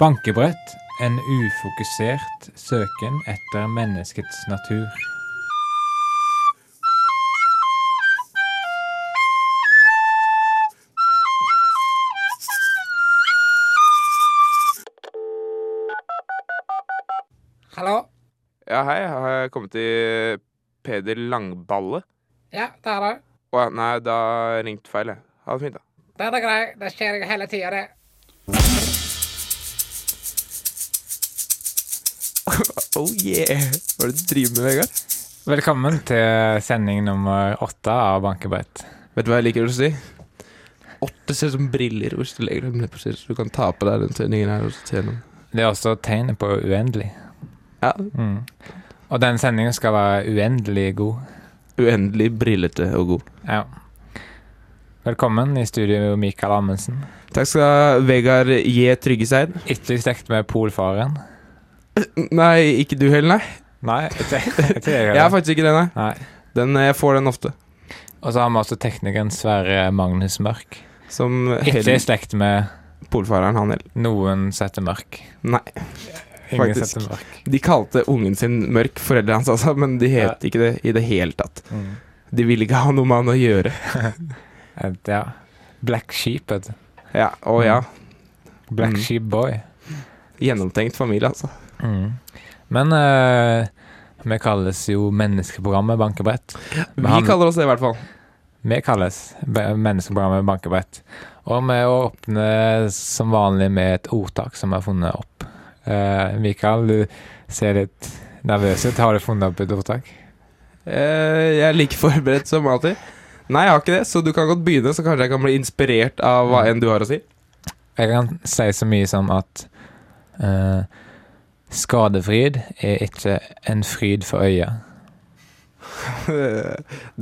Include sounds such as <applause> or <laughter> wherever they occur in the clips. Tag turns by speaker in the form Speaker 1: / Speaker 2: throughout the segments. Speaker 1: Bankebrett en ufokusert søken etter menneskets natur.
Speaker 2: Hallo?
Speaker 3: Ja, hei, har jeg kommet til Peder Langballe?
Speaker 2: Ja, det er du.
Speaker 3: Å ja, nei, da ringte feil, jeg. Ha det fint, da.
Speaker 2: Det er det grei. Det skjer jeg hele tida, det.
Speaker 3: Oh yeah! Hva er det du driver med, Vegard?
Speaker 1: Velkommen til sending nummer åtte av Bankebrett.
Speaker 3: Vet du hva jeg liker å si? Åtte ser ut som briller hvis du legger dem ned på siden, så du kan ta på deg den sendingen her og se gjennom.
Speaker 1: Det er også tegnet på uendelig.
Speaker 3: Ja,
Speaker 1: Mm. Og den sendingen skal være uendelig god.
Speaker 3: uendelig brillete og god.
Speaker 1: Ja. Velkommen i studio, Mikael Amundsen.
Speaker 3: Takk skal du ha, Vegard J. Tryggeseid.
Speaker 1: Ikke stekt med polfaren.
Speaker 3: Nei, ikke du heller, nei.
Speaker 1: Nei, ikke <laughs> ikke jeg
Speaker 3: Jeg har
Speaker 1: heller.
Speaker 3: faktisk ikke den, nei.
Speaker 1: Nei.
Speaker 3: Den, eh, jeg får den ofte.
Speaker 1: Og så har vi også teknikeren Sverre Magnus Mørk.
Speaker 3: Som
Speaker 1: Ikke
Speaker 3: heller
Speaker 1: stekt med
Speaker 3: polfareren, han heller.
Speaker 1: noen setter mørk.
Speaker 3: Nei.
Speaker 1: Ingen
Speaker 3: Faktisk.
Speaker 1: setter mørk.
Speaker 3: De kalte ungen sin mørk, foreldrene hans altså, men de het ikke det i det hele tatt.
Speaker 1: Mm.
Speaker 3: De ville ikke ha noe med han å gjøre.
Speaker 1: Et, ja. Black Sheep, vet du.
Speaker 3: Ja, Å ja.
Speaker 1: Black
Speaker 3: Mm.
Speaker 1: Sheep Boy.
Speaker 3: Gjennomtenkt familie, altså.
Speaker 1: Mm. Men eh, vi kalles jo Menneskeprogrammet Bankebrett.
Speaker 3: Vi
Speaker 1: Men han-
Speaker 3: kaller oss det, i hvert fall.
Speaker 1: Vi kalles Be- Menneskeprogrammet Bankebrett. Og vi åpner som vanlig med et ordtak som er funnet opp. Eh, Mikael, du ser litt nervøs ut. Har du funnet opp et ordtak?
Speaker 3: Eh, jeg er like forberedt som alltid. Nei, jeg har ikke det, så du kan godt begynne, så kanskje jeg kan bli inspirert av hva enn du har å si. <laughs>
Speaker 1: Jeg kan si så mye som at eh, skadefryd er ikke en fryd for øyet.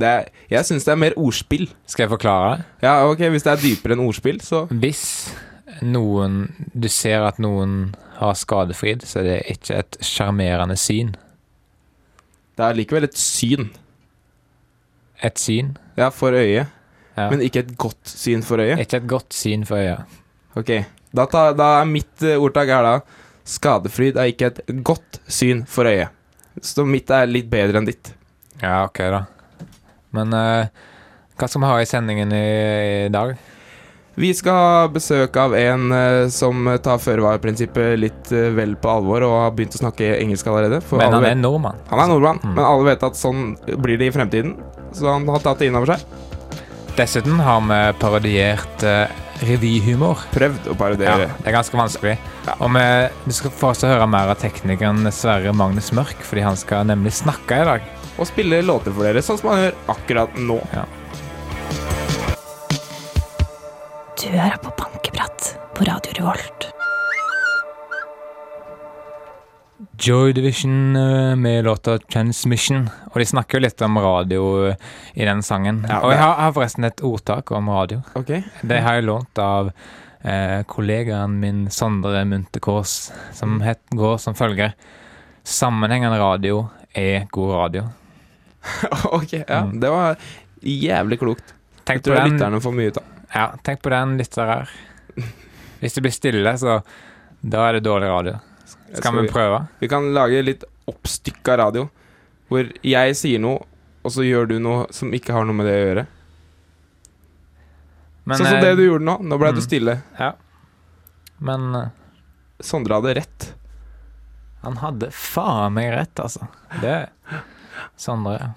Speaker 3: det er, jeg syns det er mer ordspill.
Speaker 1: Skal jeg forklare?
Speaker 3: Ja, ok, Hvis det er dypere enn ordspill, så
Speaker 1: Hvis noen Du ser at noen har skadefryd, så er det ikke et sjarmerende syn.
Speaker 3: Det er likevel et syn.
Speaker 1: Et syn.
Speaker 3: Ja, for øyet.
Speaker 1: Ja.
Speaker 3: Men ikke et godt syn for øyet.
Speaker 1: Ikke et godt syn for øya.
Speaker 3: Ok, Da, ta, da er mitt eh, ordtak her da Skadefryd er ikke et godt syn for øyet. Så mitt er litt bedre enn ditt.
Speaker 1: Ja, OK, da. Men eh, hva skal vi ha i sendingen i, i dag?
Speaker 3: Vi skal ha besøk av en eh, som tar føre-var-prinsippet litt eh, vel på alvor og har begynt å snakke engelsk allerede. for
Speaker 1: Men
Speaker 3: alle
Speaker 1: han er
Speaker 3: vet-
Speaker 1: en nordmann.
Speaker 3: han er nordmann,
Speaker 1: Mm.
Speaker 3: men alle vet at sånn blir det i fremtiden. Så han har tatt det innover seg.
Speaker 1: Dessuten har vi parodiert eh, revyhumor.
Speaker 3: Prøvd å
Speaker 1: Ja,
Speaker 3: parodiere.
Speaker 1: det er ganske vanskelig.
Speaker 3: Ja.
Speaker 1: Og vi, du skal få også høre mer av teknikeren Sverre Magnus Mørk, fordi han skal nemlig snakke i dag.
Speaker 3: Og spille låter for dere, sånn som han gjør akkurat nå.
Speaker 4: Du hører på Bankeprat på Radio Revolt.
Speaker 1: Joy Division eh, med låta 'Transmission'. Og de snakker jo litt om radio eh, i den sangen.
Speaker 3: Ja,
Speaker 1: og
Speaker 3: det-
Speaker 1: jeg har, har forresten et ordtak om radio.
Speaker 3: Ok,
Speaker 1: Det har jeg lånt av eh, kollegaen min Sondre Munthe-Kaas, som het, går som følger Sammenhengende radio er god radio.
Speaker 3: <laughs> ok, ja,
Speaker 1: Mm.
Speaker 3: Det var jævlig klokt. Jeg
Speaker 1: Tenk på
Speaker 3: tror
Speaker 1: den,
Speaker 3: lytterne får mye ut av
Speaker 1: ja, tenk på den lytter her. Hvis det blir stille, så da er det dårlig radio.
Speaker 3: Jeg
Speaker 1: Skal vi prøve?
Speaker 3: Vi kan lage litt oppstykka radio, hvor jeg sier noe, og så gjør du noe som ikke har noe med det å gjøre.
Speaker 1: Men,
Speaker 3: sånn som
Speaker 1: eh,
Speaker 3: det du gjorde nå. Nå ble du
Speaker 1: mm.
Speaker 3: stille.
Speaker 1: Ja. Men eh,
Speaker 3: Sondre hadde rett.
Speaker 1: Han hadde faen meg rett, altså. Det Sondre.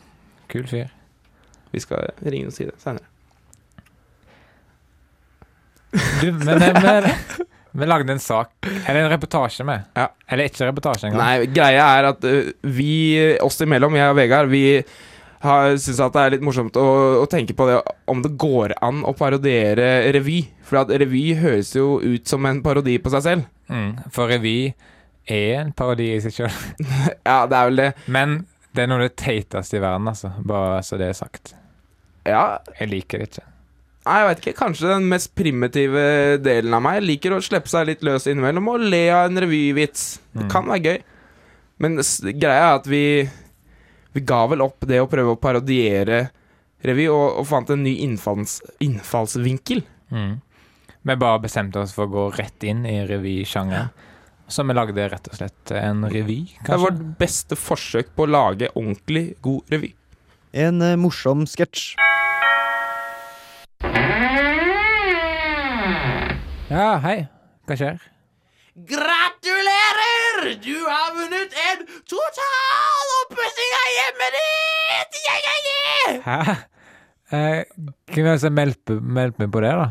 Speaker 1: Kul fyr.
Speaker 3: Vi skal ringe og si det seinere.
Speaker 1: Du, men men- men- vi lagde en sak, eller en reportasje med.
Speaker 3: Ja.
Speaker 1: Eller ikke reportasje engang.
Speaker 3: Nei, greia er at ø, vi, oss imellom, jeg og Vegard, vi har syns at det er litt morsomt å, å tenke på det om det går an å parodiere revy. For at revy høres jo ut som en parodi på seg selv.
Speaker 1: Mm, for revy er en parodi i seg sjøl.
Speaker 3: Ja, det er vel det.
Speaker 1: Men det er noe av det teiteste i verden, altså. Bare så det er sagt.
Speaker 3: Ja,
Speaker 1: Jeg liker det ikke.
Speaker 3: Nei, jeg vet ikke, Kanskje den mest primitive delen av meg liker å slippe seg litt løs innimellom og le av en revyvits. Det
Speaker 1: Mm.
Speaker 3: kan være gøy. Men s- greia er at vi Vi ga vel opp det å prøve å parodiere revy, og, og fant en ny innfalls, innfallsvinkel.
Speaker 1: Mm. Vi bare bestemte oss for å gå rett inn i revysjangeren. Så vi lagde rett og slett en revy,
Speaker 3: Det er
Speaker 1: kanskje.
Speaker 3: vårt beste forsøk på å lage ordentlig god revy.
Speaker 5: En eh, morsom sketsj.
Speaker 1: Ja, hei. Hva skjer?
Speaker 6: Gratulerer! Du har vunnet en total oppussing av hjemmet ditt! Yeah, yeah, yeah!
Speaker 1: Hæ? Eh, hvem er det som melder melder meg på det, da?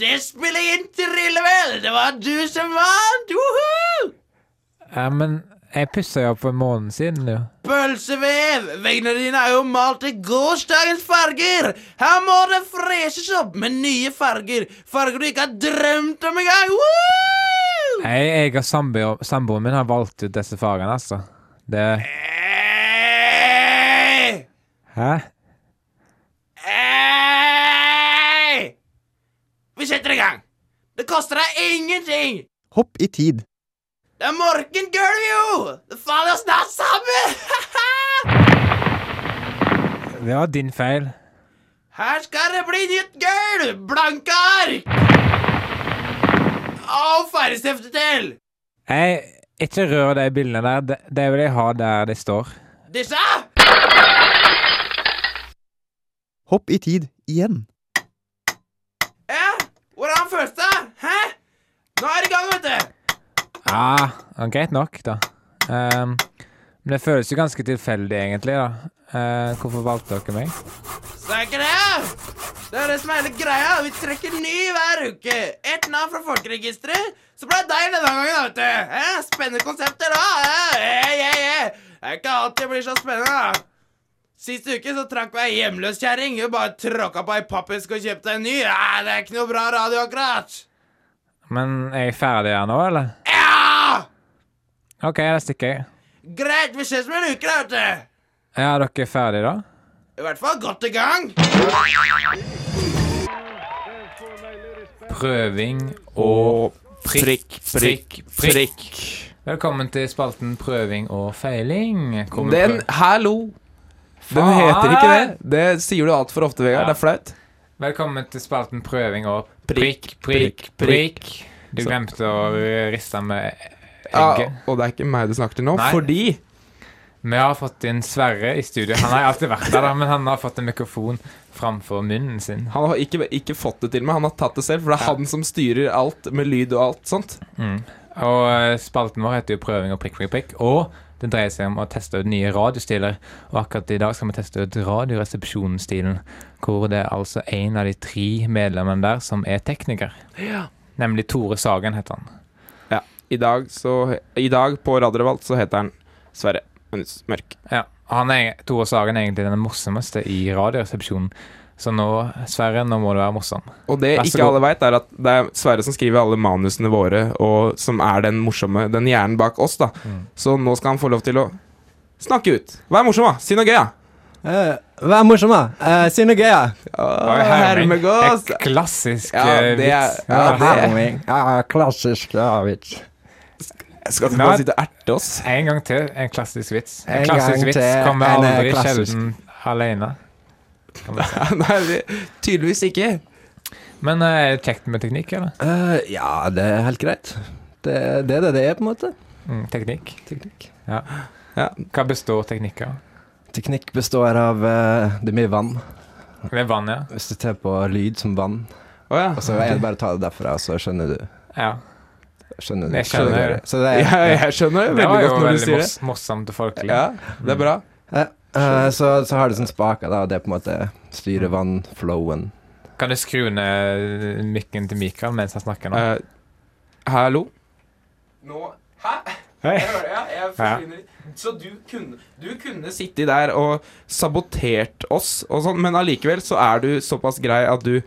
Speaker 6: Det spiller ingen trillevel! Det var du som vant! Woohoo!
Speaker 1: Ja, men jeg pussa jo opp for en måned siden, jo.
Speaker 6: Pølsevev! Veggene dine er jo malt i gårsdagens farger! Her må det freses opp med nye farger! Farger du ikke har drømt om engang! Woo!
Speaker 1: Jeg, jeg og samboer- samboeren min har valgt ut disse fargene, altså. Det
Speaker 6: Hey!
Speaker 1: Hæ?
Speaker 6: Hey! Vi setter i gang. Det koster deg ingenting.
Speaker 5: Hopp i tid.
Speaker 6: Det er morgengulv, jo! Det faller jo snart <laughs> sammen!
Speaker 1: Det var din feil.
Speaker 6: Her skal det bli nytt gulv! Blanke ark! Og fargestifte til!
Speaker 1: Jeg ikke rør de bildene der. Det, det vil jeg ha der de står.
Speaker 6: Disse?
Speaker 5: Hopp i tid igjen.
Speaker 6: Ja? Hvordan føles det? Hæ? Nå er det i gang, vet du!
Speaker 1: Ja, ah, greit nok, da. Ehm, men det føles jo ganske tilfeldig, egentlig, da. Eh, hvorfor valgte dere meg?
Speaker 6: Det er ikke det! Det er det som er hele greia. Vi trekker ny hver uke. Ett navn fra folkeregisteret. Så ble det deg denne gangen, da, vet du. Hæ? Spennende konsepter, da. Hæ? Eh, eh, eh. Det er ikke alltid det blir så spennende, da. Sist uke så trakk vi ei hjemløs kjerring. Hun bare tråkka på ei pappesk og kjøpte en ny. Ja, det er ikke noe bra radio, akkurat.
Speaker 1: Men er jeg ferdig her nå, eller?
Speaker 6: Ja!
Speaker 1: OK, da stikker jeg.
Speaker 6: Greit, vi ses om en uke, da, vet du.
Speaker 1: Ja, dere er ferdige, da?
Speaker 6: I hvert fall godt i gang.
Speaker 1: Prøving og
Speaker 3: Prikk, prikk, prikk.
Speaker 1: Velkommen til spalten Prøving og feiling. Hvor vi
Speaker 3: Den
Speaker 1: prø-
Speaker 3: Hallo! Den
Speaker 1: Faen!
Speaker 3: heter ikke det. Det sier du altfor ofte, Vegard.
Speaker 1: Ja.
Speaker 3: Det er flaut.
Speaker 1: Velkommen til spalten Prøving og
Speaker 3: Prikk,
Speaker 1: prikk,
Speaker 3: prikk.
Speaker 1: prikk. Du glemte å riste med
Speaker 3: Ja,
Speaker 1: egget.
Speaker 3: og det er ikke meg du snakker til nå,
Speaker 1: Nei.
Speaker 3: fordi
Speaker 1: Vi har fått inn Sverre i studio. Han har alltid vært der, da, men han har fått en mikrofon framfor munnen sin.
Speaker 3: han har ikke, ikke fått det til meg. Han har tatt det selv, for det er han som styrer alt med lyd og alt sånt.
Speaker 1: Og eh, spalten vår heter jo Prøving og prikk, prikk, prikk. Og det dreier seg om å teste ut nye radiostiler. Og akkurat i dag skal vi teste ut Radioresepsjonen-stilen. Hvor det er altså en av de tre medlemmene der som er tekniker. Nemlig Tore Sagen, heter han.
Speaker 3: Ja, I dag, så, i dag på Radio Revolt så heter han Sverre Magnus Mørk.
Speaker 1: Ja, han er, Tore Sagen er egentlig den morsomste i Radioresepsjonen. Så nå, Sverre, nå må du være morsom.
Speaker 3: Og det
Speaker 1: Vær så
Speaker 3: ikke
Speaker 1: god.
Speaker 3: alle veit, er at det er Sverre som skriver alle manusene våre, og som er den morsomme, den hjernen bak oss, da.
Speaker 1: Mm.
Speaker 3: Så nå skal han få lov til å snakke ut. Vær morsom, da! Si noe gøy, da!
Speaker 7: Eh, vær morsom, da. Eh, si noe gøy, da.
Speaker 3: Åh,
Speaker 1: Herming.
Speaker 3: Hermegås!
Speaker 1: Et klassisk
Speaker 3: Ja,
Speaker 1: eh,
Speaker 3: det er-
Speaker 1: vits.
Speaker 3: ja, det er-
Speaker 7: Ja, klassisk ja, vits.
Speaker 3: Skal du
Speaker 1: Nei.
Speaker 3: bare sitte og erte oss? <laughs>
Speaker 1: En gang til en klassisk vits. En,
Speaker 7: En
Speaker 1: klassisk
Speaker 7: gang
Speaker 1: vits
Speaker 7: til
Speaker 1: kommer
Speaker 7: en, eh,
Speaker 1: aldri
Speaker 7: klassisk.
Speaker 1: sjelden alene.
Speaker 3: Nei, vi- tydeligvis ikke.
Speaker 1: Men eh, er det kjekt med teknikk, eller?
Speaker 7: Eh, ja, det er helt greit. Det det er det det er, på en måte.
Speaker 1: Mm, teknikk.
Speaker 7: Teknikk.
Speaker 1: Hva består teknikk av?
Speaker 7: Teknikk består av eh, Det er mye vann.
Speaker 1: Det er vann, ja.
Speaker 7: Hvis du ser på lyd som vann,
Speaker 3: Å ja.
Speaker 7: og så er det bare å ta det derfra, og så skjønner du.
Speaker 1: ja.
Speaker 7: Skjønner du.
Speaker 1: Jeg skjønner.
Speaker 7: Skjønner du. Så <laughs> det er,
Speaker 3: ja. Jeg skjønner det
Speaker 1: Det var
Speaker 3: veldig
Speaker 1: jo
Speaker 3: godt når du
Speaker 1: veldig
Speaker 3: sier det.
Speaker 1: mors morsomt og folkelig.
Speaker 3: Ja, det er bra.
Speaker 7: eh, eh, så, så har du sånn spaker, da, og det på en måte styrer vannflowen.
Speaker 1: Kan du skru ned mikken til Mikael mens han snakker nå?
Speaker 3: Eh, hallo? Nå Hæ?
Speaker 1: Hei.
Speaker 3: Jeg hører, ja, jeg forsvinner litt. Så du kunne, du kunne sittet der og sabotert oss, og sånn, men allikevel så er du såpass grei at du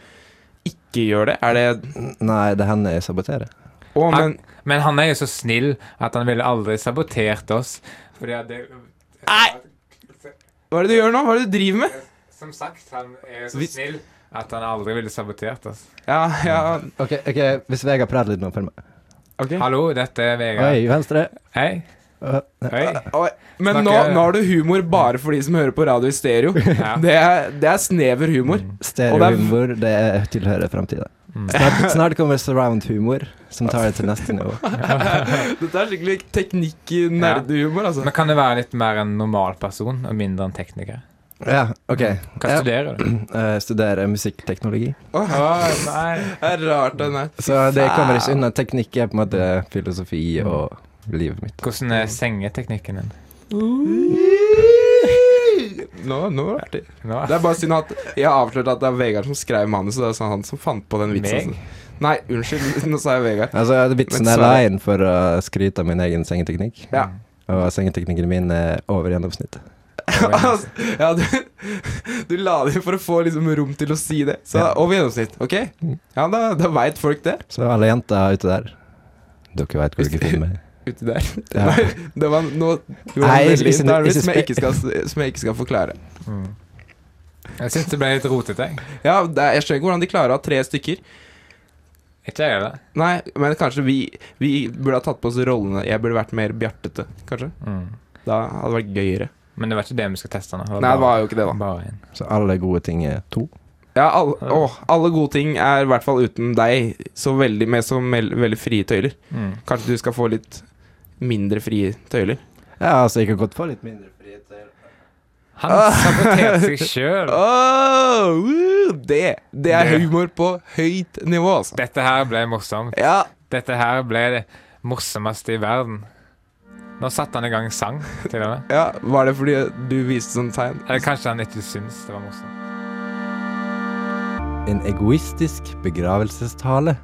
Speaker 3: ikke gjør det? Er det
Speaker 7: Nei, det hender jeg saboterer.
Speaker 3: Å, men
Speaker 1: Han, men han er jo så snill at han ville aldri sabotert oss. Fordi at det,
Speaker 6: Nei,
Speaker 3: Hva er det du gjør nå? Hva er det du driver med?
Speaker 1: som sagt, han er jo så
Speaker 3: Hvis-
Speaker 1: snill at han aldri ville sabotert oss.
Speaker 3: Ja, ja
Speaker 7: Ok, ok, Hvis Vegard prater litt nå for meg
Speaker 3: ok.
Speaker 1: Hallo, dette er Vegard.
Speaker 7: Oi, venstre.
Speaker 1: Hei.
Speaker 7: Eh,
Speaker 1: Hei.
Speaker 3: Oi, Men nå,
Speaker 1: Snakker-
Speaker 3: nå har du humor bare for de som hører på radio i stereo.
Speaker 1: Ja.
Speaker 3: Det er, det er snever humor. Og det er-
Speaker 7: Stereohumor, det tilhører framtida. Snart, snart kommer surround-humor. som tar det til neste nivå.
Speaker 3: Dette er skikkelig teknikk-nerdehumor, altså.
Speaker 1: Men kan det være litt mer en normal person og mindre en tekniker?
Speaker 7: Ja, OK.
Speaker 3: Mm.
Speaker 1: Hva
Speaker 7: <clears throat> Ja.
Speaker 1: studerer du?
Speaker 7: Jeg studerer musikkteknologi.
Speaker 3: Åh,
Speaker 1: Å, nei.
Speaker 3: det er rart, den her.
Speaker 7: Så det kommer ikke unna. Teknikk er på en måte
Speaker 3: Mm.
Speaker 7: filosofi og livet mitt.
Speaker 1: Hvordan er sengeteknikken din?
Speaker 3: Nå, nå er det
Speaker 1: Nå?
Speaker 3: Det er bare synd at jeg har avslørt at det er Vegard som skrev manuset. Det er sånn han som fant på den vitsen.
Speaker 1: Meg?
Speaker 3: Nei, unnskyld. <laughs> Nå sa jeg Vegard.
Speaker 7: Altså, vitsen
Speaker 3: Men
Speaker 7: er
Speaker 3: så-
Speaker 7: line for å skryte av min egen sengeteknikk.
Speaker 3: Ja.
Speaker 7: Og sengeteknikken min er over gjennomsnittet.
Speaker 3: Altså, ja, du, <laughs> du la det inn for å få liksom rom til å si det. Så
Speaker 7: Ja.
Speaker 3: over gjennomsnitt. Ok? Ja, da, da veit folk det.
Speaker 7: Så alle jenter ute der Dere veit hvor dere finner meg.
Speaker 3: Uti der.
Speaker 7: Ja.
Speaker 3: <laughs> Nei, det var nå Du
Speaker 7: Nei,
Speaker 3: var
Speaker 7: ikke-
Speaker 3: veldig
Speaker 7: ikke-
Speaker 3: nervøs,
Speaker 7: ikke
Speaker 3: som jeg ikke skal, som jeg ikke skal forklare.
Speaker 1: <laughs> Mm. Jeg syns det ble litt rotete. jeg.
Speaker 3: Ja, det, er- Jeg skjønner ikke hvordan de klarer å ha tre stykker.
Speaker 1: Ikke jeg heller.
Speaker 3: Nei, men kanskje vi, vi burde ha tatt på oss rollene. Jeg burde vært mer bjartete, kanskje.
Speaker 1: Mm.
Speaker 3: Da hadde det vært gøyere.
Speaker 1: Men det var ikke det vi skulle teste nå.
Speaker 3: Nei, det var jo ikke det, da.
Speaker 1: Bare en.
Speaker 7: Så alle gode ting er to.
Speaker 3: Ja, alle, åh, alle gode ting er i hvert fall uten deg så veldig med så mel- veldig frie tøyler.
Speaker 1: Mm.
Speaker 3: Kanskje du skal få litt mindre frie tøyler?
Speaker 7: Ja, altså, jeg kan godt få litt mindre frihet. til-
Speaker 1: Han saboterte
Speaker 3: <laughs>
Speaker 1: seg sjøl.
Speaker 3: Åh, woo, det, det er
Speaker 1: Det.
Speaker 3: humor på høyt nivå, altså.
Speaker 1: Dette her ble morsomt.
Speaker 3: Ja,
Speaker 1: Dette her ble det morsomste i verden. Nå satte han i gang sang, til og med.
Speaker 3: ja, var det fordi du viste sånn tegn?
Speaker 1: Eller kanskje han ikke syns det var morsomt.
Speaker 7: En egoistisk begravelsestale.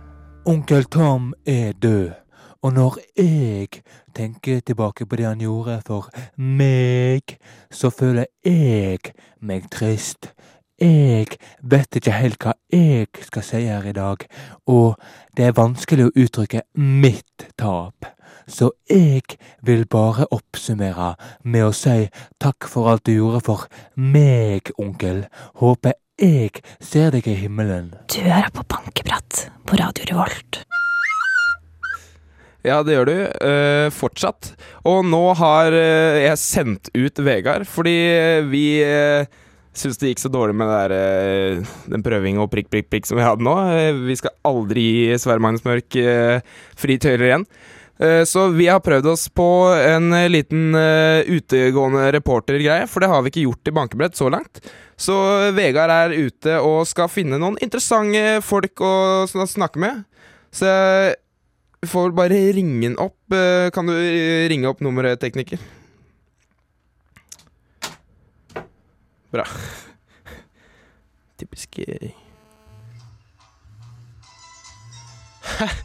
Speaker 8: Onkel Tom er død, og når jeg tenker tilbake på det han gjorde for meg, så føler jeg meg trist. Jeg vet ikke helt hva jeg skal si her i dag, og det er vanskelig å uttrykke mitt tap. Så jeg vil bare oppsummere med å si takk for alt du gjorde for meg, onkel. Håper jeg ser deg i himmelen.
Speaker 4: Du hører på Bankeprat på Radio Revolt.
Speaker 3: Ja, det gjør du. eh, fortsatt. Og nå har eh, jeg sendt ut Vegard, fordi eh, vi uh, syns det gikk så dårlig med det der, eh, den prøving og prikk, prikk, prikk som vi hadde nå. Eh, vi skal aldri gi Sverre Magnus Mørk eh, fri tøyler igjen. Eh, Så vi har prøvd oss på en eh, liten eh, utegående reportergreie, for det har vi ikke gjort i bankebrett så langt. Så eh, Vegard er ute og skal finne noen interessante folk å sn- snakke med. Så jeg vi får vel bare ringe den opp. Eh, Kan du eh, ringe opp nummeret, tekniker? Bra. <laughs> Typisk eh. <laughs>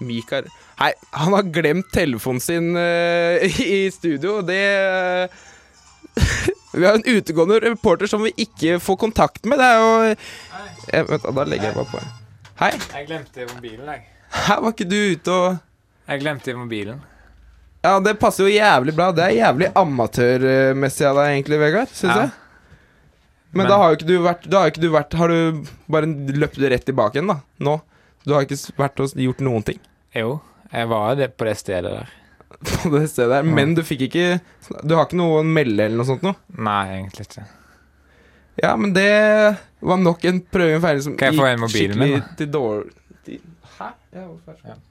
Speaker 3: Mikael Hei, han har glemt telefonen sin eh, <laughs> i studio. Det eh, <laughs> Vi har en utegående reporter som vi ikke får kontakt med. Det er jo Eh, Vent, da, da legger jeg bare på. Hei.
Speaker 1: Jeg glemte mobilen, jeg.
Speaker 3: Her var ikke du ute og
Speaker 1: Jeg glemte mobilen.
Speaker 3: Ja, det passer jo jævlig bra. Det er jævlig amatørmessig av deg egentlig, Vegard, syns
Speaker 1: Ja.
Speaker 3: jeg. Men,
Speaker 1: Men-
Speaker 3: da har jo ikke du vært Da har jo ikke du vært Har du bare løpt rett tilbake igjen, da? Nå? Du har ikke s- vært og s- gjort noen ting <laughs>
Speaker 1: Jo, jeg var det på det stedet der.
Speaker 3: på det stedet der, men du fikk ikke Du har ikke noe å melde eller noe sånt noe?
Speaker 1: Nei, egentlig ikke.
Speaker 3: Ja, men det var nok en prøve og feil som
Speaker 1: Kan jeg få en
Speaker 3: gikk
Speaker 1: mobilen min,
Speaker 3: skikkelig til dårlig Hæ? Ja, hvorfor? sånn?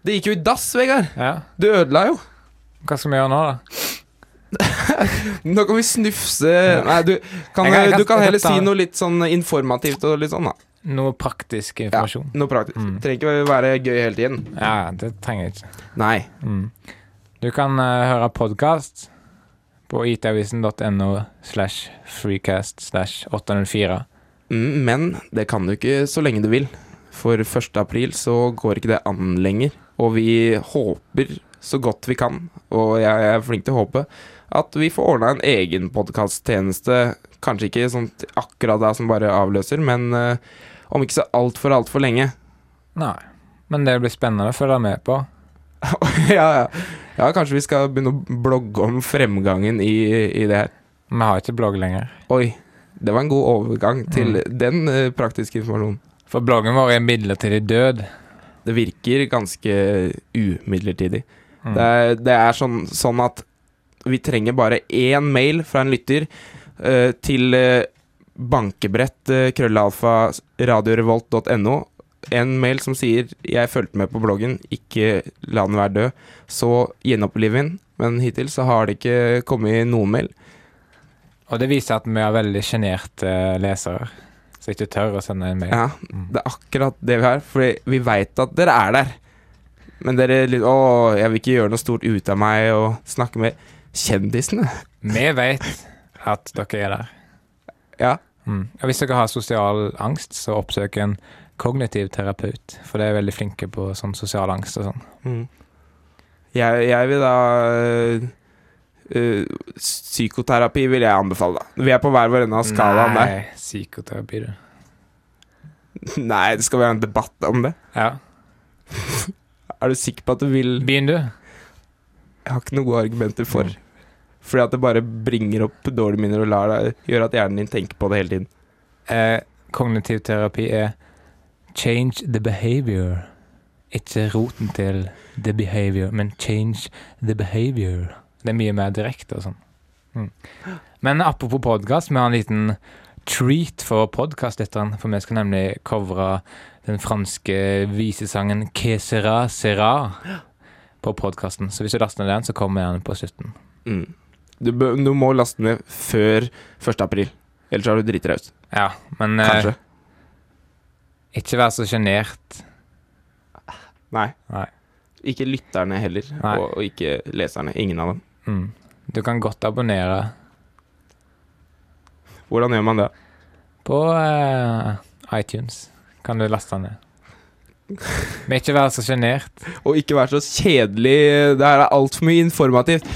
Speaker 3: Det gikk jo i dass, Vegard.
Speaker 1: Ja.
Speaker 3: Du ødela jo.
Speaker 1: Hva skal vi gjøre nå, da?
Speaker 3: Nå kan vi snufse Nei, du kan,
Speaker 1: Jeg kan- jeg kan-
Speaker 3: du kan heller
Speaker 1: jeg kan ta-
Speaker 3: si noe litt sånn informativt og litt sånn, da.
Speaker 1: Noe praktisk
Speaker 3: Ja,
Speaker 1: informasjon?
Speaker 3: noe praktisk.
Speaker 1: Mm.
Speaker 3: Trenger ikke være gøy hele tiden.
Speaker 1: Ja, det trenger jeg ikke.
Speaker 3: Nei.
Speaker 1: Mm. Du kan eh, høre podkast på itavisen.no slash freecast slash 804.
Speaker 3: Mm, men det kan du ikke så lenge du vil. For 1. april så går ikke det an lenger. Og vi håper så godt vi kan, og jeg er flink til å håpe, at vi får ordna en egen podkasttjeneste. Kanskje ikke sånn til akkurat da som bare avløser, men eh, om ikke så altfor, altfor lenge.
Speaker 1: Nei. Men det blir spennende å følge med på.
Speaker 3: <laughs> ja, ja. ja, kanskje vi skal begynne å blogge om fremgangen i, i det her.
Speaker 1: Vi har ikke blogg lenger.
Speaker 3: Oi, det var en god overgang til den eh, praktiske informasjonen.
Speaker 1: For bloggen vår er midlertidig død.
Speaker 3: Det virker ganske umidlertidig.
Speaker 1: Mm.
Speaker 3: Det er, det er sånn, sånn at vi trenger bare én mail fra en lytter eh, til eh, bankebrett eh, krøllalfa radiorevolt.no en mail som sier 'Jeg fulgte med på bloggen, ikke la den være død', så gjenoppliv den. Men hittil så har det ikke kommet noen mail.
Speaker 1: Og det viser at vi har veldig sjenerte eh, lesere, som ikke tør å sende en mail. Mm.
Speaker 3: Ja, det er akkurat det vi har, for vi veit at dere er der. Men dere litt, 'Å, jeg vil ikke gjøre noe stort ut av meg og snakke med kjendisene'.
Speaker 1: Vi vet at dere er der.
Speaker 3: Ja.
Speaker 1: Mm. Og hvis dere har sosial angst, så oppsøk en kognitiv terapeut, for de er veldig flinke på sånn sosial angst og sånn.
Speaker 3: Jeg, jeg vil da øh, Psykoterapi vil jeg anbefale, da. Vi er på hver vår ende av skalaen
Speaker 1: Nei,
Speaker 3: der.
Speaker 1: psykoterapi, du.
Speaker 3: Nei, det skal være en debatt om det.
Speaker 1: Ja.
Speaker 3: Er du sikker på at du vil
Speaker 1: Begynn, du.
Speaker 3: Jeg har ikke noen gode argumenter for. Fordi at det bare bringer opp dårlige minner og lar deg gjør at hjernen din tenker på det hele tiden.
Speaker 1: Eh, kognitiv terapi er change the behavior. Ikke roten til the behavior, men change the behavior. Det er mye mer direkte og sånn. Mm. Men apropos podkast, vi har en liten treat for podkastlytteren. For vi skal nemlig covre den franske visesangen Que sera sera på podkasten. Så hvis du laster ned den, så kommer den på slutten.
Speaker 3: Du, bø- du må laste ned før 1. april. Ellers er du dritraus.
Speaker 1: Ja, men eh,
Speaker 3: Kanskje.
Speaker 1: ikke vær så sjenert.
Speaker 3: Nei.
Speaker 1: Nei.
Speaker 3: Ikke lytterne heller,
Speaker 1: Nei.
Speaker 3: og, og ikke leserne. Ingen av dem.
Speaker 1: Mm. Du kan godt abonnere.
Speaker 3: Hvordan gjør man det?
Speaker 1: På eh, iTunes kan du laste den ned. Men ikke vær så sjenert.
Speaker 3: Og ikke være så kjedelig. Det her er altfor mye informativt.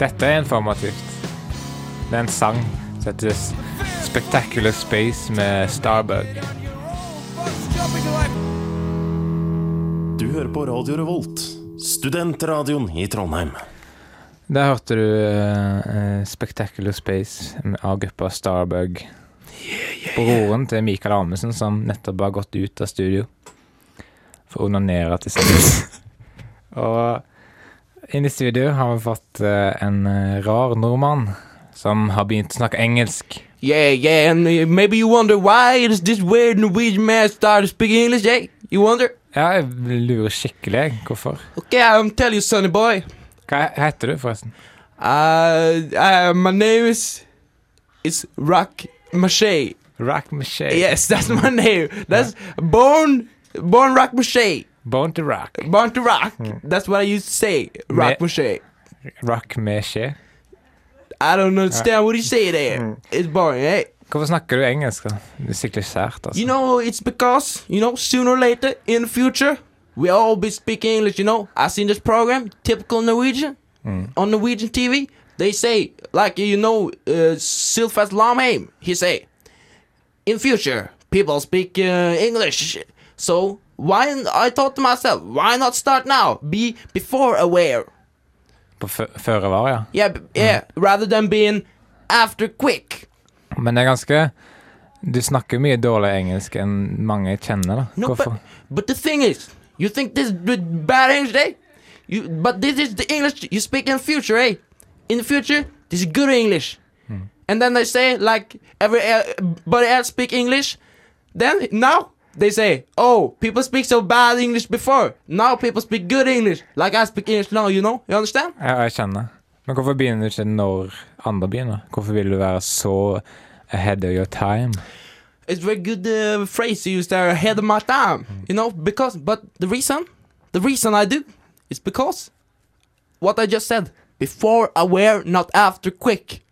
Speaker 1: Dette er informativt. Det er en sang som heter S- Spectacular Space med Starbug.
Speaker 9: Du hører på Radio Revolt, studentradioen i Trondheim.
Speaker 1: Der hørte du eh, eh, Spectacular Space med- av gruppa Starbug. Broren til Mikael Amundsen som nettopp har gått ut av studio for å onanere til
Speaker 6: <laughs>
Speaker 1: sex. Og inn i studio har vi fått eh, en eh, rar nordmann som har begynt å snakke engelsk.
Speaker 6: Yeah, yeah, and uh, maybe you wonder why it is this weird Norwegian man started speaking English, eh? You wonder?
Speaker 1: Ja, jeg lurer skikkelig jeg, hvorfor.
Speaker 6: Okay, I'll tell you, sonny boy.
Speaker 1: Hva heter du, forresten?
Speaker 6: Uh, uh my name is is Rock Mache.
Speaker 1: Rack Mache.
Speaker 6: Yes, <laughs> that's my name. That's born born Rock Mache.
Speaker 1: Born to rock.
Speaker 6: Born to rock. That's what I used to say. Rock
Speaker 1: Mm. Me-
Speaker 6: Mache.
Speaker 1: Rock Mache.
Speaker 6: I don't understand what you say
Speaker 1: Mm.
Speaker 6: there. It's boring, eh?
Speaker 1: Hvorfor snakker du engelsk? da? Det er sikkert sært, altså.
Speaker 6: You know, Oh, it's because, you know, sooner or later in the future, we all be speaking English, you know. I seen this program, typical Norwegian, on Norwegian TV. They say, like, you know, uh, Sylvester Lamheim, he say, in future, people speak uh, English. So, why, n- I thought to myself, why not start now? Be before aware.
Speaker 1: På fø- føre var, ja.
Speaker 6: Yeah, b- yeah, rather than being after quick.
Speaker 1: Men det er ganske Du snakker mye dårlig engelsk enn mange jeg kjenner, da.
Speaker 6: No,
Speaker 1: Hvorfor?
Speaker 6: but, but the thing is, you think this is b- bad English, eh? You, but this is the English you speak in future, eh? In the future, this is good English. And then they say, like, uh, everybody else speak English. Then, now, they say, oh, people speak so bad English before. Now people speak good English, like I speak English now, you know? You understand?
Speaker 1: Ja, jeg kjenner. Men hvorfor begynner du ikke når andre begynner? Hvorfor vil du være så ahead of your time?
Speaker 6: It's very good uh, phrase you use there ahead of my time. You know, because but the reason, the reason I do, is because what I just said. Before aware, not after quick.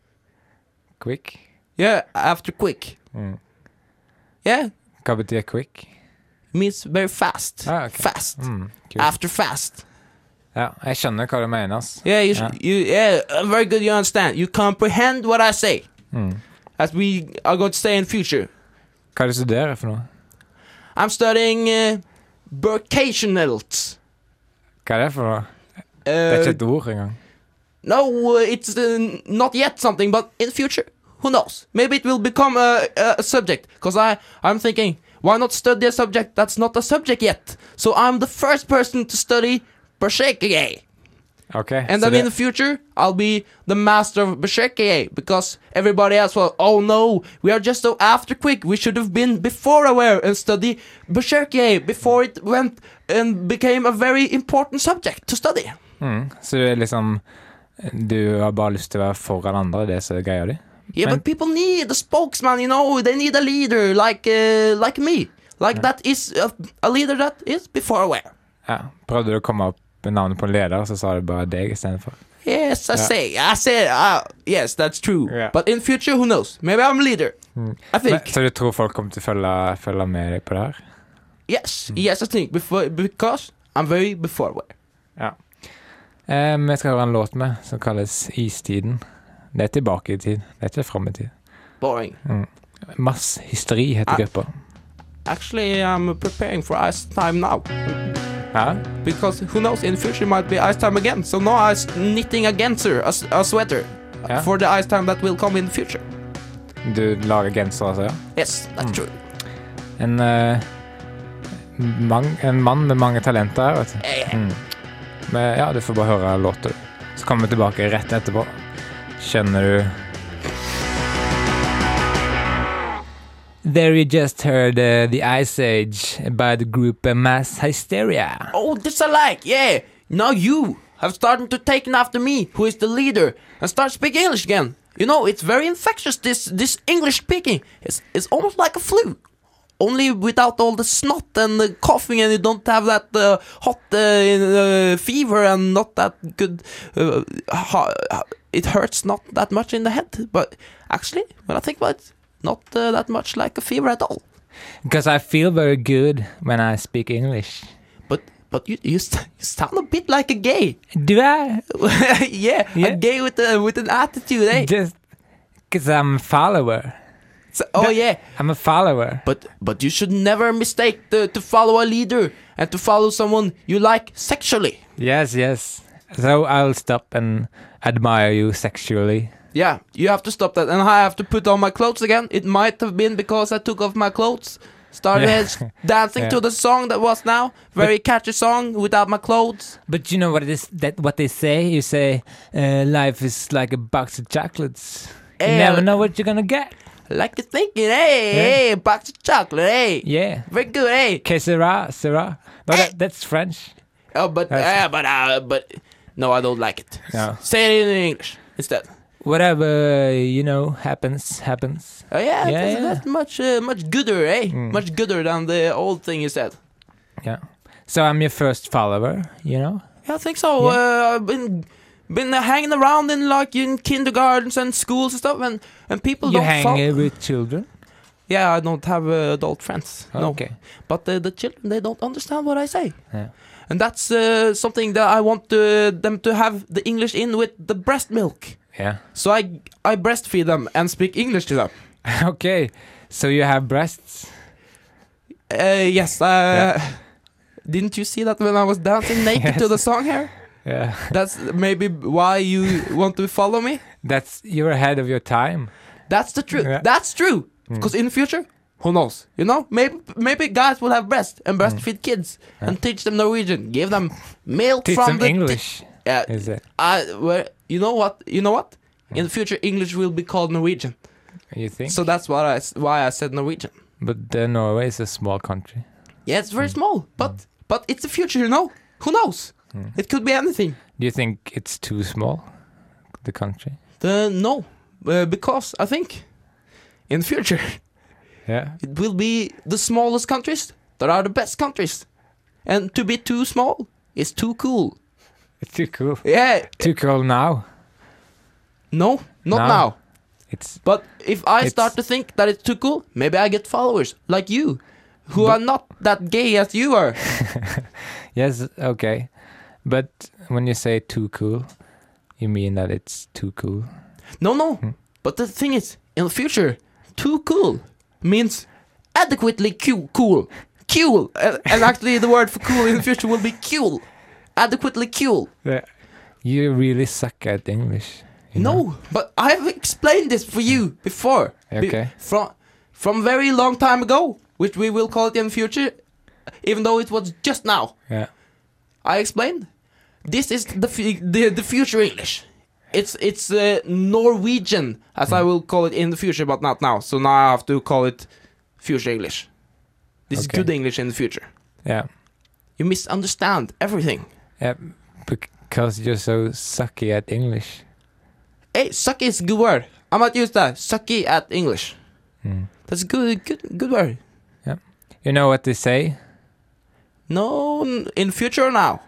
Speaker 1: Quick?
Speaker 6: Yeah, after quick.
Speaker 1: Mm.
Speaker 6: Yeah,
Speaker 1: Hva betyr quick?
Speaker 6: means very fast.
Speaker 1: Ah, okay.
Speaker 6: Fast.
Speaker 1: Mm, kult.
Speaker 6: After fast.
Speaker 1: Ja, jeg skjønner hva du mener, ass.
Speaker 6: Yeah, you,
Speaker 1: Yeah.
Speaker 6: yeah. you yeah, uh, very good. You understand. You comprehend what I say.
Speaker 1: Mm.
Speaker 6: As we are going to say in future,
Speaker 1: Hva er det du studerer for noe?
Speaker 6: I'm studying uh, vocationals.
Speaker 1: Hva er det for noe?
Speaker 6: Uh,
Speaker 1: Det er ikke et ord engang.
Speaker 6: No, uh, it's uh, not yet something, but in future, who knows? Maybe it will become a, a subject. Cause I, I'm thinking, why not study a subject eh? that's not a subject yet? So I'm the first person to study Berserkagay.
Speaker 1: Ok,
Speaker 3: And
Speaker 1: så
Speaker 3: then
Speaker 1: det,
Speaker 3: in the future, I'll be the master of Basheke because everybody else was, oh no, we are just so after quick. We should have been before aware and study Basheke before it went and became a very important subject to study.
Speaker 1: mm, så du er liksom Du har bare lyst til å være foran andre, det er så greia di?
Speaker 3: Yeah,
Speaker 1: Men-
Speaker 3: but people need a spokesman, you know. They need a leader like uh, like me, like that is a, a leader that is before aware.
Speaker 1: Ja. Prøvde du å komme opp med navnet på en leder, så sa du bare deg istedenfor?
Speaker 3: Yes, I
Speaker 1: Yeah.
Speaker 3: say, I say, uh, yes, that's true.
Speaker 1: Yeah. Hmm.
Speaker 3: But in future, who knows? Maybe I'm leader. I
Speaker 1: Men-
Speaker 3: think.
Speaker 1: Så du tror folk kommer til å følge, følge med deg på det her?
Speaker 3: Yes,
Speaker 1: Hmm.
Speaker 3: yes, I think before because I'm very before aware.
Speaker 1: Eh, Vi skal høre en låt med som kalles Istiden. Det er tilbake i tid, det er ikke fram i tid.
Speaker 3: Boring.
Speaker 1: Mass hysteri heter
Speaker 3: Ah.
Speaker 1: gruppa.
Speaker 3: Actually, I'm preparing for ice time now
Speaker 1: Ja,
Speaker 3: because who knows? In future, might be ice time again. So now I'm knitting a genser, a, s- a sweater
Speaker 1: Yeah.
Speaker 3: for the ice time that will come in the future.
Speaker 1: du lager genser, altså? ja?
Speaker 3: Yes, that's
Speaker 1: Hmm.
Speaker 3: true.
Speaker 1: En, eh, mang, en mann med mange talenter her, vet du.
Speaker 3: Eh,
Speaker 1: Mm. Men ja, du får bare høre låter. Så kommer vi tilbake rett etterpå. Kjenner du There you just heard uh, The Ice Age by the group uh, Mass Hysteria.
Speaker 3: Oh, dislike, yeah. Now you have started to take after me, who is the leader, and start speaking English again. You know, it's very infectious. This this English speaking, it's it's almost like a flu, only without all the snot and the coughing, and you don't have that uh, hot uh, uh, fever and not that good. Uh, ha- ha- it hurts not that much in the head, but actually, when I think about it, not uh, that much like a fever at all.
Speaker 1: Because I feel very good when I speak English.
Speaker 3: But but you you, st- <laughs> you sound a bit like a gay. <laughs>
Speaker 1: Do I?
Speaker 3: yeah,
Speaker 1: Yeah.
Speaker 3: a gay with a, with an attitude, eh?
Speaker 1: Just because I'm a follower.
Speaker 3: So- oh yeah,
Speaker 1: I'm a follower.
Speaker 3: but but you should never mistake the, to follow a leader and to follow someone you like sexually.
Speaker 1: Yes, yes. So I'll stop and admire you sexually.
Speaker 3: Yeah, you have to stop that, and I have to put on my clothes again. It might have been because I took off my clothes, started
Speaker 1: Yeah.
Speaker 3: <laughs> dancing to
Speaker 1: Yeah.
Speaker 3: the song that was now very catchy song without my clothes.
Speaker 1: But you know what it is that what they say? You say uh, life is like a box of chocolates. You
Speaker 3: Eh,
Speaker 1: never know what you're gonna get.
Speaker 3: I like to think it, hey,
Speaker 1: Yeah.
Speaker 3: hey, box of chocolate, hey,
Speaker 1: Yeah.
Speaker 3: very good, eh? hey.
Speaker 1: Que sera, sera. No,
Speaker 3: Eh.
Speaker 1: that, that's French.
Speaker 3: Oh, but
Speaker 1: That's-
Speaker 3: yeah, but uh, but no, I don't like it.
Speaker 1: Yeah.
Speaker 3: Say it in English instead.
Speaker 1: Whatever you know happens, happens.
Speaker 3: Oh
Speaker 1: Yeah,
Speaker 3: yeah,
Speaker 1: Mm.
Speaker 3: that's,
Speaker 1: yeah.
Speaker 3: that's much uh, much gooder, eh? Much gooder than the old thing you said.
Speaker 1: Yeah. So I'm your first follower. You know.
Speaker 3: Yeah, I think so. Uh, I've been been hanging around in like in kindergartens and schools and stuff, and and people
Speaker 1: You
Speaker 3: don't
Speaker 1: hang
Speaker 3: follow.
Speaker 1: uh, with children.
Speaker 3: Yeah, I don't have uh, adult friends.
Speaker 1: Okay.
Speaker 3: No, but uh, the, the children they don't understand what I say.
Speaker 1: Yeah.
Speaker 3: And that's uh, something that I want uh, them to have the English in with the breast milk.
Speaker 1: Yeah. <laughs>
Speaker 3: So I I breastfeed them and speak English to them.
Speaker 1: okay. So you have breasts.
Speaker 3: Uh, yes. Uh, Didn't you see that when I was dancing naked to the song here?
Speaker 1: Yeah. <laughs>
Speaker 3: That's maybe why you want to follow me.
Speaker 1: That's you're ahead of your time.
Speaker 3: That's the truth.
Speaker 1: Yeah. Hmm.
Speaker 3: That's true. Because in the future, who knows? You know, maybe maybe guys will have breast
Speaker 1: Hmm.
Speaker 3: and breastfeed kids and teach them Norwegian, give them milk
Speaker 1: Teach
Speaker 3: from
Speaker 1: them
Speaker 3: the ti-
Speaker 1: English.
Speaker 3: Yeah,
Speaker 1: Is it?
Speaker 3: I, well, you know what? You know what? In the future, English will be called Norwegian.
Speaker 1: Hmm. You think?
Speaker 3: So that's what I s- why I said Norwegian.
Speaker 1: but uh, Norway is a small country.
Speaker 3: Yeah, it's
Speaker 1: Hmm.
Speaker 3: very small, but but it's the future. You know, who knows?
Speaker 1: Hmm.
Speaker 3: It could be anything.
Speaker 1: Do you think it's too small, the country?
Speaker 3: The, no, uh, because I think in the future.
Speaker 1: Yeah.
Speaker 3: it will be the smallest countries that are the best countries. And to be too small is too cool.
Speaker 1: It's too cool.
Speaker 3: Yeah,
Speaker 1: Too cool now.
Speaker 3: no, not
Speaker 1: No.
Speaker 3: now.
Speaker 1: It's
Speaker 3: But if I
Speaker 1: It's-
Speaker 3: start to think that it's too cool, maybe I get followers like you, who are not that gay as you are.
Speaker 1: yes, okay. But when you say too cool, you mean that it's too cool.
Speaker 3: No,
Speaker 1: Hmm.
Speaker 3: no. But the thing is, in the future, too cool means adequately cu- cool. Cool. And, and actually, the word for cool in the future will be cool. Adequately cool.
Speaker 1: You really suck at English. you know?
Speaker 3: No, but I've explained this for you before. Be-
Speaker 1: Okay.
Speaker 3: from from very long time ago, which we will call it in future, even though it was just now.
Speaker 1: Yeah.
Speaker 3: I explained This is the, fu- the, the future English. It's, it's uh, Norwegian, as I will call it in the future, but not now. So now I have to call it future English. This
Speaker 1: Okay.
Speaker 3: is good English in the future.
Speaker 1: Yeah.
Speaker 3: You misunderstand everything.
Speaker 1: yeah. Because you're so sucky at English.
Speaker 3: Hey, sucky is a good word. I'm not used to that. Sucky at English.
Speaker 1: Mm.
Speaker 3: That's a good, good, good word.
Speaker 1: You know what they say?
Speaker 3: No, n- in future now.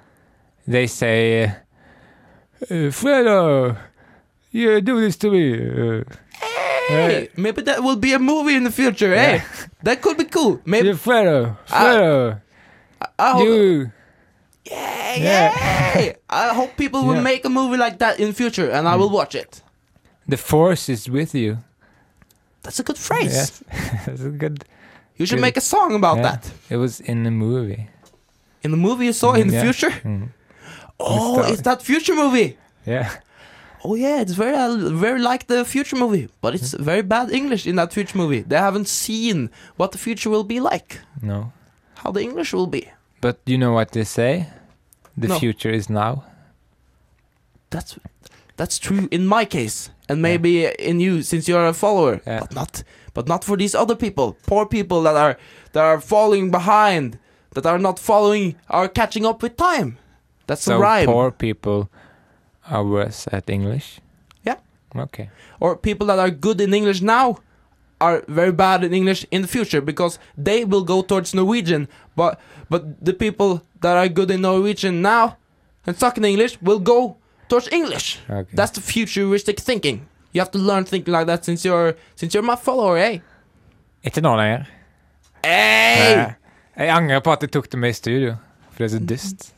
Speaker 1: They say, uh, Fredo, you do this to me. Uh,
Speaker 3: Hey, maybe that will be a movie in the future. Hey, <laughs> that could be cool. Maybe
Speaker 1: you Fredo,
Speaker 3: Ah,
Speaker 1: Fredo,
Speaker 3: I hope.
Speaker 1: you.
Speaker 3: yeah,
Speaker 1: Yeah.
Speaker 3: yeah. I hope people will
Speaker 1: Yeah. Mm.
Speaker 3: make a movie like that in future, and I will watch it.
Speaker 1: The force is with you.
Speaker 3: That's a good phrase.
Speaker 1: Yes. <laughs> That's a good.
Speaker 3: You should
Speaker 1: Good.
Speaker 3: make a song about
Speaker 1: Yeah.
Speaker 3: that
Speaker 1: It was in the movie.
Speaker 3: in the movie you saw in the
Speaker 1: Yeah.
Speaker 3: future.
Speaker 1: Mm.
Speaker 3: Oh,
Speaker 1: that-
Speaker 3: it's that future movie.
Speaker 1: Yeah.
Speaker 3: Oh yeah, it's very uh, very like the future movie, but it's
Speaker 1: Mm-hmm.
Speaker 3: very bad English in that future movie. They haven't seen what the future will be like,
Speaker 1: No.
Speaker 3: how the English will be.
Speaker 1: But you know what they say? The
Speaker 3: No.
Speaker 1: future is now.
Speaker 3: That's that's true in my case, and maybe in you since you're a follower,
Speaker 1: Yeah.
Speaker 3: but not but not for these other people, poor people that are that are falling behind, that are not following, are catching up with time. That's
Speaker 1: So
Speaker 3: a rhyme.
Speaker 1: poor people are worse at English.
Speaker 3: Yeah.
Speaker 1: Okay.
Speaker 3: or people that are good in English now are very bad in English in the future because they will go towards Norwegian. But but the people that are good in Norwegian now and suck in English will go towards English.
Speaker 1: Okay.
Speaker 3: That's the futuristic thinking. You have to learn thinking like that since you're since you're my follower, eh?
Speaker 1: Ikke nå lenger.
Speaker 3: Hey! Mm.
Speaker 1: Eh, Jeg angrer på at jeg tok det med i studio, for det er så dust.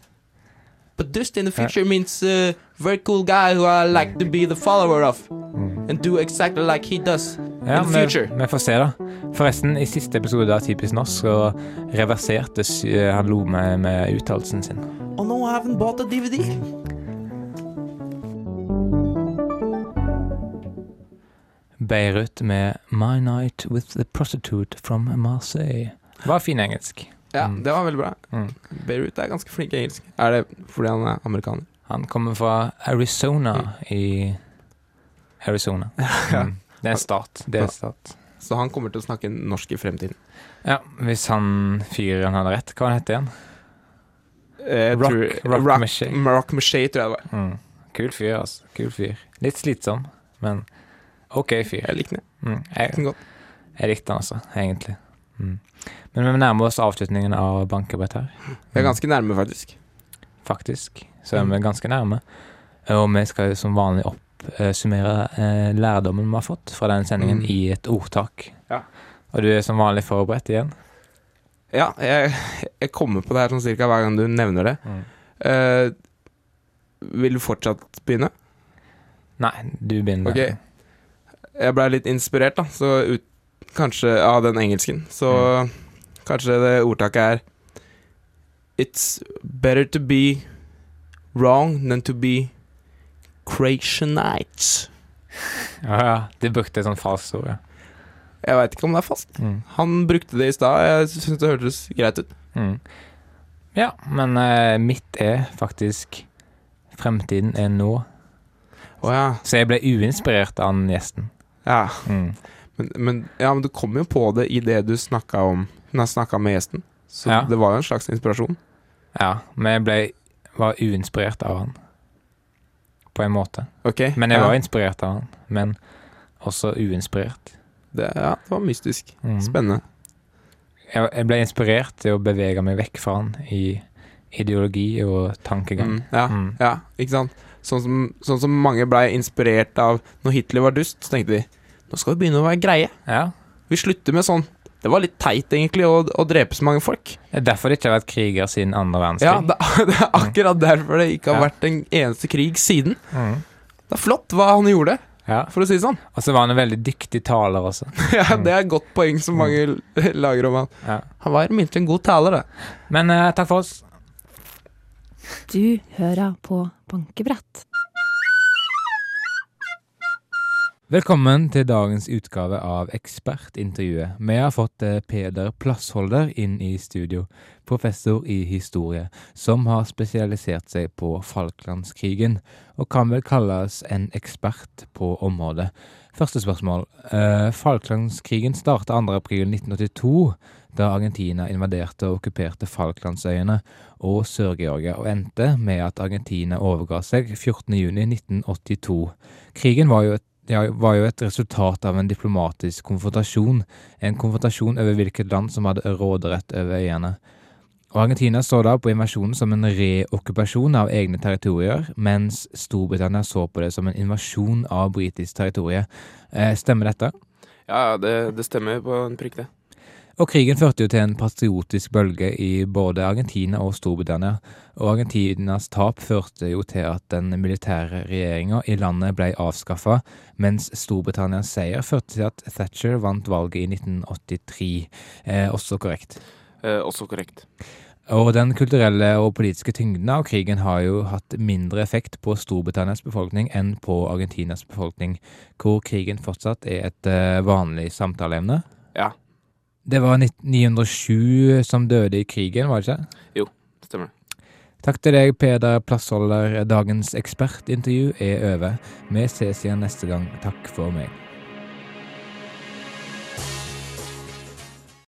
Speaker 3: But dust in the future means uh, very cool guy who I like to be the follower of
Speaker 1: Mm.
Speaker 3: and do exactly like he does.
Speaker 1: Ja,
Speaker 3: In
Speaker 1: vi,
Speaker 3: future.
Speaker 1: vi får se, da. Forresten, i siste episode av Typisk norsk så reverserte sy- han lo med, med uttalelsen sin.
Speaker 3: Oh no, I haven't bought a DVD.
Speaker 1: Beirut med 'My Night With The Prostitute From Marseille'. Var fin engelsk.
Speaker 3: Ja,
Speaker 1: Mm.
Speaker 3: det var veldig bra.
Speaker 1: Mm.
Speaker 3: Beirut er ganske flink i engelsk. Er det fordi han er amerikaner?
Speaker 1: Han kommer fra Arizona i <laughs> Arizona. Mm. Det er en stat. Det er en stat.
Speaker 3: Så han kommer til å snakke norsk i fremtiden.
Speaker 1: Ja, hvis han fyren hadde rett, hva han heter han?
Speaker 3: Eh, jeg
Speaker 1: Rock-
Speaker 3: tror-
Speaker 1: Rock
Speaker 3: rock
Speaker 1: Mache.
Speaker 3: Rock Mache, tror jeg det var.
Speaker 1: Mm. Kul fyr, altså. Kul fyr. Litt slitsom, men OK fyr.
Speaker 3: Jeg likte den,
Speaker 1: Mm.
Speaker 3: jeg likte
Speaker 1: Jeg,
Speaker 3: den godt.
Speaker 1: Jeg likte den altså, egentlig. Mm. Men vi nærmer oss avslutningen av bankebrett her,
Speaker 3: Vi er ganske nærme, faktisk.
Speaker 1: faktisk. Så er vi
Speaker 3: Mm.
Speaker 1: ganske nærme. Og vi skal jo som vanlig oppsummere eh, lærdommen vi har fått fra den sendingen
Speaker 3: Mm.
Speaker 1: i et ordtak.
Speaker 3: Ja.
Speaker 1: Og du er som vanlig forberedt igjen.
Speaker 3: Ja, jeg, jeg kommer på det her sånn cirka hver gang du nevner det.
Speaker 1: Mm.
Speaker 3: Eh, vil du fortsatt begynne?
Speaker 1: Nei, du begynner.
Speaker 3: Ok. Jeg ble litt inspirert, da, så ut, kanskje av den engelsken. Så
Speaker 1: Mm.
Speaker 3: kanskje det ordtaket er It's better to be wrong than to be creationite.
Speaker 1: Ja, ja. Du brukte et sånt falskt ord, ja.
Speaker 3: Jeg veit ikke om det er fast.
Speaker 1: Mm.
Speaker 3: Han brukte det i stad. Jeg syns det hørtes greit ut.
Speaker 1: Mm. Ja, men eh, mitt er faktisk Fremtiden er nå.
Speaker 3: Å ja.
Speaker 1: Så jeg ble uinspirert av den gjesten.
Speaker 3: Ja.
Speaker 1: Mm.
Speaker 3: Men, men, ja, men du kom jo på det i det du snakka om Hun har snakka med gjesten. Så
Speaker 1: Ja.
Speaker 3: det var jo en slags inspirasjon.
Speaker 1: Ja, men jeg ble, var uinspirert av han. På en måte.
Speaker 3: Ok.
Speaker 1: Men jeg
Speaker 3: ja.
Speaker 1: var inspirert av han. Men også uinspirert.
Speaker 3: Det, ja, det var mystisk.
Speaker 1: Mm.
Speaker 3: Spennende.
Speaker 1: Jeg, jeg ble inspirert til å bevege meg vekk fra han i ideologi og tankegang.
Speaker 3: Mm, ja,
Speaker 1: Mm.
Speaker 3: ja, ikke sant? Sånn som, sånn som mange blei inspirert av når Hitler var dust, så tenkte de nå skal vi begynne å være greie.
Speaker 1: Ja.
Speaker 3: Vi slutter med sånn. Det var litt teit, egentlig, å, å drepe så mange folk.
Speaker 1: Det er derfor det ikke har vært kriger siden andre
Speaker 3: Ja,
Speaker 1: verdenskrig.
Speaker 3: det, <laughs> det er akkurat derfor det ikke har
Speaker 1: Ja.
Speaker 3: vært en eneste krig siden.
Speaker 1: Mm.
Speaker 3: Det er flott hva han gjorde,
Speaker 1: Ja.
Speaker 3: for å si det sånn. <laughs>
Speaker 1: Og så var han en veldig dyktig taler også.
Speaker 3: Ja, det er et godt poeng som mange l- <laughs> lager om han.
Speaker 1: Mm. Ja.
Speaker 3: Han var imidlertid en god taler, da.
Speaker 1: Men eh, takk for oss.
Speaker 4: Du hører på Bankebrett.
Speaker 1: Velkommen til dagens utgave av Ekspertintervjuet. Vi har fått eh, Peder Plassholder inn i studio, professor i historie, som har spesialisert seg på Falklandskrigen, og kan vel kalles en ekspert på området. Første spørsmål. Eh, Falklandskrigen starta 2. april 1982, da Argentina invaderte og okkuperte Falklandsøyene og Sør-Georgia, og endte med at Argentina overga seg 14. juni 1982. Krigen var jo et ja, var jo et resultat av en diplomatisk konfrontasjon, en konfrontasjon over hvilket land som hadde råderett over øyene. Og Argentina så da på invasjonen som en reokkupasjon av egne territorier, mens Storbritannia så på det som en invasjon av britisk territorie. Eh, stemmer dette?
Speaker 3: Ja, det, det stemmer på en prikk, det.
Speaker 1: Og krigen førte jo til en patriotisk bølge i både Argentina og Storbritannia, og Argentinas tap førte jo til at den militære regjeringa i landet ble avskaffa, mens Storbritannias seier førte til at Thatcher vant valget i 1983, eh, også korrekt.
Speaker 3: Eh, også korrekt.
Speaker 1: Og den kulturelle og politiske tyngden av krigen har jo hatt mindre effekt på Storbritannias befolkning enn på Argentinas befolkning, hvor krigen fortsatt er et eh, vanlig samtaleemne.
Speaker 3: Ja.
Speaker 1: Det var nitt- 907 som døde i krigen, var det ikke?
Speaker 3: Stemmer det.
Speaker 1: Takk til deg, Peder Plassholder. Dagens ekspertintervju er over. Vi ses igjen neste gang. Takk for meg.